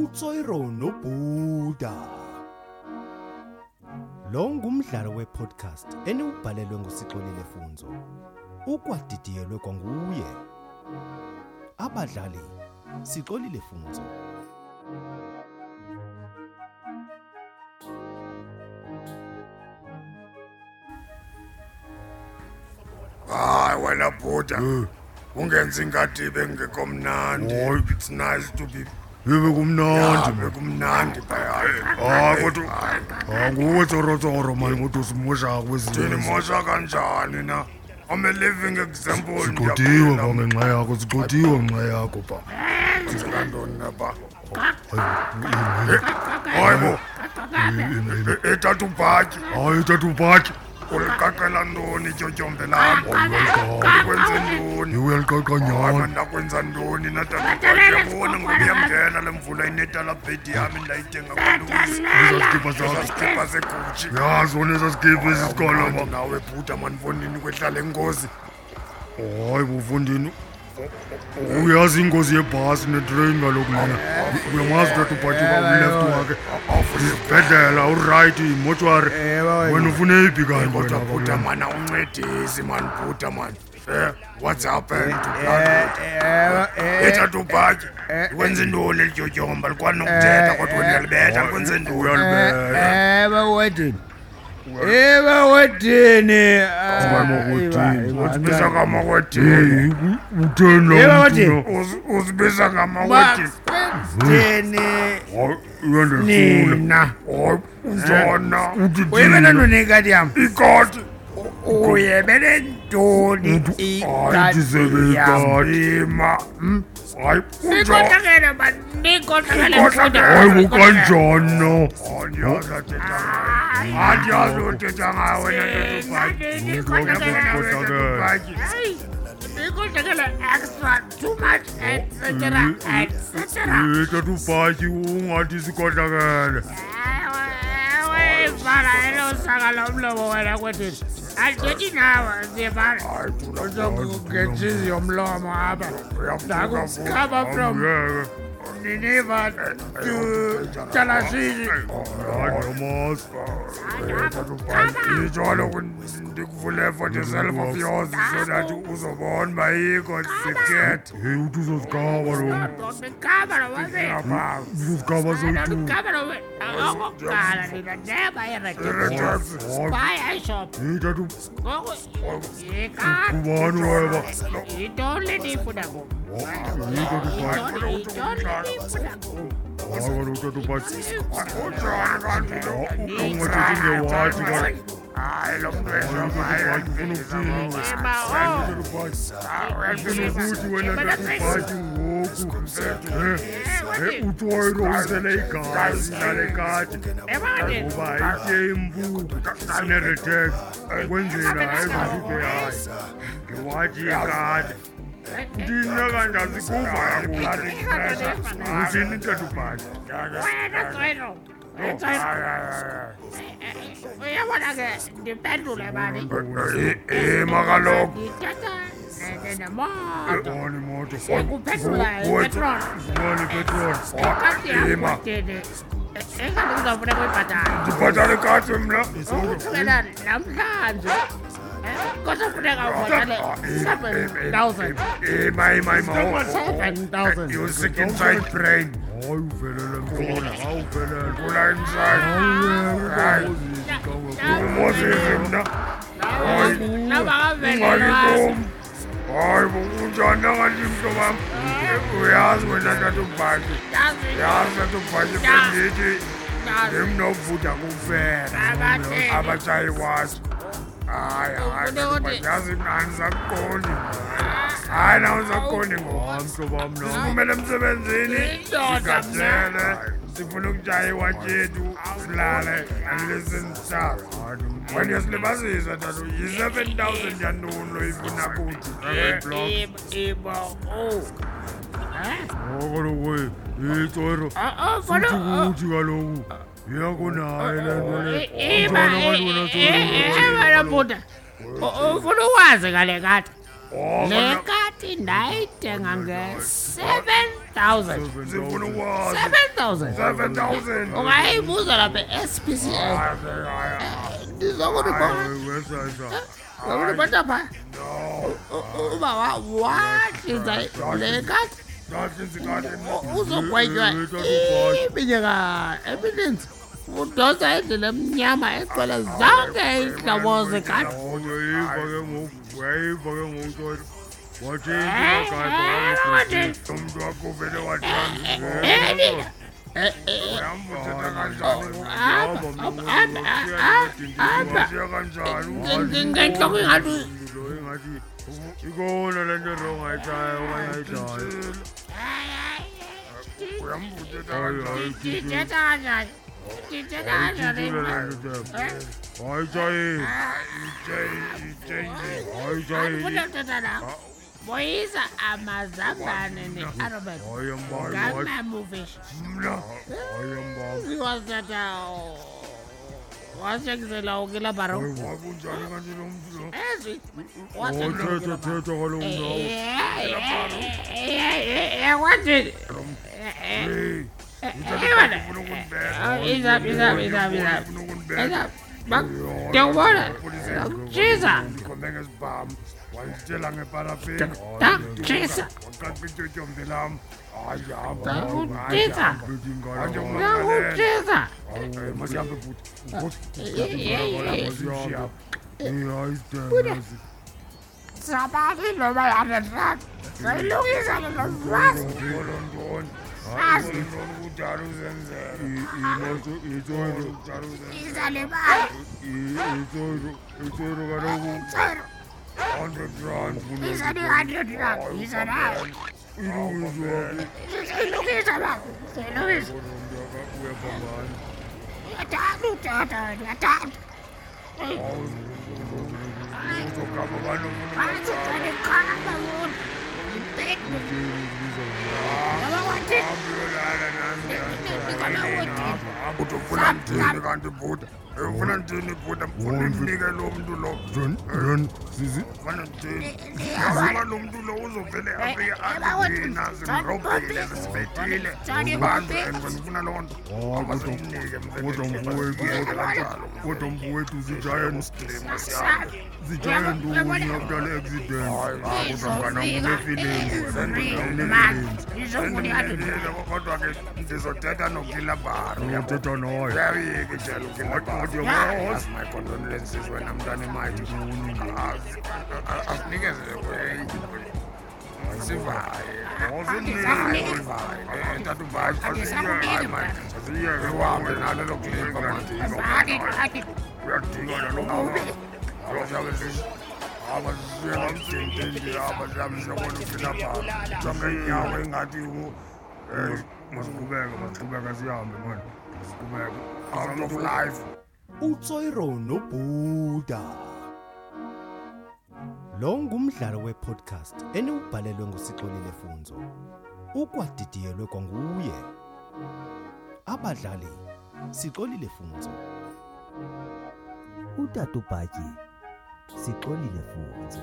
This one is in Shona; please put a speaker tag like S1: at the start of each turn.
S1: uTsoiro noBuda. Lo ngumdlalo wepodcast eniubhalelwe ngusixolile Funzo. Ukwadidiyelwe kwanguye. Abadlali Sixolile Funzo.
S2: hayi wena bhuda ungenzi ingathi bengekho mnandi it's nice to be
S3: ibe kumnandi man.
S2: bekumnandi
S3: hayi
S2: phayani
S3: kodwa hayi nguwe tsorotsoro mani kodwa usimosha kwezinto
S2: ndinimosha kanjani na i'm a living example
S3: sigxothiwe ba ngenxa yakho sigxothiwe ngenxa yakho ba
S2: ngantoni napha
S3: Hayi,
S2: hayi e, bo
S3: ime- ime- ime- ime.
S2: ethatha ubhatyi
S3: hayi tata ubhatyi
S2: uliqaqela ntoni ityotyombe lam
S3: Oh
S2: ndikwenze ntoni
S3: iweliqaqa
S2: Hayi,
S3: nyhani
S2: mandakwenza ntoni natatiyabona ngoba iyamngena le mvula inetalabhedi yami ndayithenga kwaluzi
S3: esasikhipha sakho
S2: sasikhipha seguji
S3: yazona esasikhipha esisikolo ba
S2: nawe bhuda manifondini kwehlala engozi
S3: hayi bufundini uyazi ingozi yebhasi netrain kaloku mana uyamazi tata ubhatyi uba uleft wakhe isibhedlela urayithi imotshwari wena ufune iphi kanti
S2: kodwa
S3: wena ba,
S2: bhuda
S3: mani?
S2: man awuncedisi man bhuda man Eh, what's happened to
S4: Eh,
S2: blood
S4: eh, eh,
S2: ethatha ubhatyi ikwenza intoni elityotyomba likwani nokuthetha kodwa wena libetha likwenze ntoni
S4: eh, bawadini Eh, bawadini Ah,
S3: bawadini.
S4: iba- iba-
S2: uzibisa ngamakwedini
S3: utheni
S4: Eh, bawadini.
S2: uzibisa ngamakwedini
S4: Bawadini.
S3: uyandefuna
S2: nina Hayi, zona Hmm.
S4: uyebele ntoni ikati yam
S2: ikoti
S4: uyebele ntoni ikati yam
S2: ndizebekadima hayi unjani
S5: Nikohlakele man, nikohlakele mfundo.
S2: Nikohlakele.
S3: hayi kukanjani no
S2: andiyazi athetha ngayo andiyazi othetha ngayo wena
S5: Nani, nikohlakele.
S3: Nikohlakele.
S2: ntetubhatyi
S5: Hey, nikohlakele extra, too much, et cetera, et cetera.
S3: tata ubhatyi ungathi sikohlakele
S5: Ewe, ewe, vala elo saka lomlomo wena kwethini. Andithethi nawe, zivala.
S4: ngentshizi yomlomo apha ndakusikaba from
S3: angeke
S4: niniva to talashishi
S3: andiyamazi
S2: nditsho kaloku ndikuvule for the self of yours so that uzobona uba yikho zikhethe
S3: heyi uthi uzosikaba lo
S5: Ngikaba lo wabe.
S3: uzosikaba soyithuba
S5: Ngikaba lo wabe. Ngokuqala nina neba ireject. Baya eshop.
S3: heyi tata
S5: Ngoku yikaba.
S3: ubani weba
S5: Yintoni le ndiyifuna ngoku?
S3: heyi tata ubhatyi
S5: Yintoni, yintoni le ndiyifuna ngoku?
S3: hayi kaloku tata ubhatyi
S2: unjoni kanti lo
S3: ungathetha ngewathi kaloku
S2: hayi lo mntu
S3: hayi tata ubhatyi ufuna ukuthini wena?
S5: Ema, oh.
S3: unokuthi wena ndakubhatyi ngoku Eh, eh, utoyiro usele igazi lale kati
S5: Ebandeni.
S3: ngoba itye impu sineretex kwenzela ayivasuke yayo ndiwathi ikati ndina kandazikuva kakuhle uthini thetha ubhatyi
S5: Wena Zoilo. Uyabona ke ndiphendule bani.
S2: ema kaloku
S5: Ndithetha ne- nemoto.
S3: oni moto
S5: Kuphendula ipetrol.
S3: oni petroli
S5: Ikati
S2: Ema.
S5: yakudele. Ekati kuzawufuneka uyibhatale.
S2: ndibhatale kati mna
S5: Ukusukela namhlanje. Kuzofuneka ubhatale seven thousand.
S2: ema ema ema
S5: Seven thousand.
S2: you sick inside brain
S3: hayi uvelele mtona hayi uvelele
S2: kula inside
S3: hayi
S2: umozisi mna
S5: Nabakavelelwazi.
S2: Hayibo. Hayibo, unjani angathi mntu wam uyazi wena tatubhatyi
S5: Dạ,
S2: yazi tatubhatyi bendithi ndimnovutha kufela
S5: Abathengi.
S2: abasayiwazi hayi hayi
S5: Ufune ukuthi-
S2: tatubhatyi yazi mna andisakuqondi hayi nawusakuqondi ngoku
S3: amhlobam nam
S2: siphumele emsebenzini
S5: Indoda mna.
S2: sigatyele sifuna ukujayiwa tyethu silale and listen stuff wena uyasilibazisa tata yi-seven thousand yantoni loyifuna kuthi
S5: Eh.
S3: ngoko lokuye itsoro
S5: Ema ờ.
S3: uthi kaloku yakho naye le nto le
S5: labuda ufuna Ờ,
S2: Oh,
S5: ukwazi ngale kati le kati ndayithenga nge-seven thousand
S2: sifuna ukwazi
S5: seven thousand
S2: 7000
S5: ungayibuza lapha e-spcs ndizokundibata phaa uba wa- wahlinza le kati uzogwetywa iminyaka emininzi udosa endlela emnyama egcwele zonke iintlobo zekati
S2: umntu wakho vele wathanda uyamvuthetha kanjani usiya kanjani
S5: ngentloko ingathi
S3: ikona le nto rongayihlaya okanye ayihlayo
S2: uyamvuthetha kanjani
S5: ndithetha kanjani ndithetha kanjani
S3: hayitshayeli hayitshayeli
S5: andifuna uthetha nawo boyisa amazambane nearobert
S3: hayi mbali
S5: ngamamovish
S3: mna hayi mbali
S5: ziwathatha wasekisela wonke labaro
S2: wakunjani kanti lo mntu lo
S5: ezwi
S3: othetha thetha kaloku nawo
S5: yakwatini eyona
S2: ufuna ukundibeka
S5: Ah, izaphi izaphi izaphi izaphi
S2: ufuna ukundibeka
S5: izaphi ndiyakubona ndakujisa
S2: ndikhomeka esibham wanditshela ngeparafini
S5: ndakujisa
S2: waqaqa ityotyombe lam hayi hamba
S5: ndakujisa
S2: Hayi, ungagalele.
S5: ndakujisa
S2: Eh, masihambe bhuti
S3: siyapha ihayitemazi
S5: sabani noba yanetrak zilungisa lelovazi
S2: olontoni
S5: Sazi.
S2: olontoni kudala uzenzela
S3: imoto itoyiro
S2: kudala uzenzela
S5: izalibali
S3: itoyiro itoyiro kaloku
S5: tsero
S2: 100 rand
S5: izani-hundred rak izanayo
S3: ilungiswape
S5: zilungisa bako zilungisa
S3: uyapha ngani
S5: uyathanda utata wena uyathanda
S2: uzogaba banofuna
S5: basitshane qaba wona impekho ngoba wathi
S2: uyolala nami
S5: ngoba wathi
S2: uthi ufuna mthini kanti bhuta Eh, ufuna mthini bhuta ufuna ndinike lo mntu lo
S3: jon jon sizi
S2: ufuna mthini
S5: ngiyabona
S2: Ngoba lo mntu lo uzovele
S5: Eh,
S2: e-, afike
S5: wathi
S2: athina zimrobhile zisibethile
S5: Johnny,
S2: ubantu and
S5: Johnny.
S2: ndifuna loo nto
S3: hayi kodwa kodwa mfowethu kodwa- kodwa mfowethu zigiant
S5: sabe
S3: zigiant ubuni after le accident
S2: kodwa ke ndizothetha nogilabaro
S3: uthetha naye
S2: uyayiki jela ugilabaro my condolences wena mntane mathi asinikezele sivaye uhambe nalo loklipa uyadinga nalo abaziyamdentende abaziyamziyabona usilapha jonke inyawo engathi masiqhubeke masiqhubeke sihambe mani masiqhubeke out of life
S1: utsoiro nobhuda lo ngumdlalo wepodcast eniwubhalelwe ngusixolile funzo ukwadidiyelwe kwanguye abadlali sixolile funzo
S6: utata ubhatyi sixolile futhi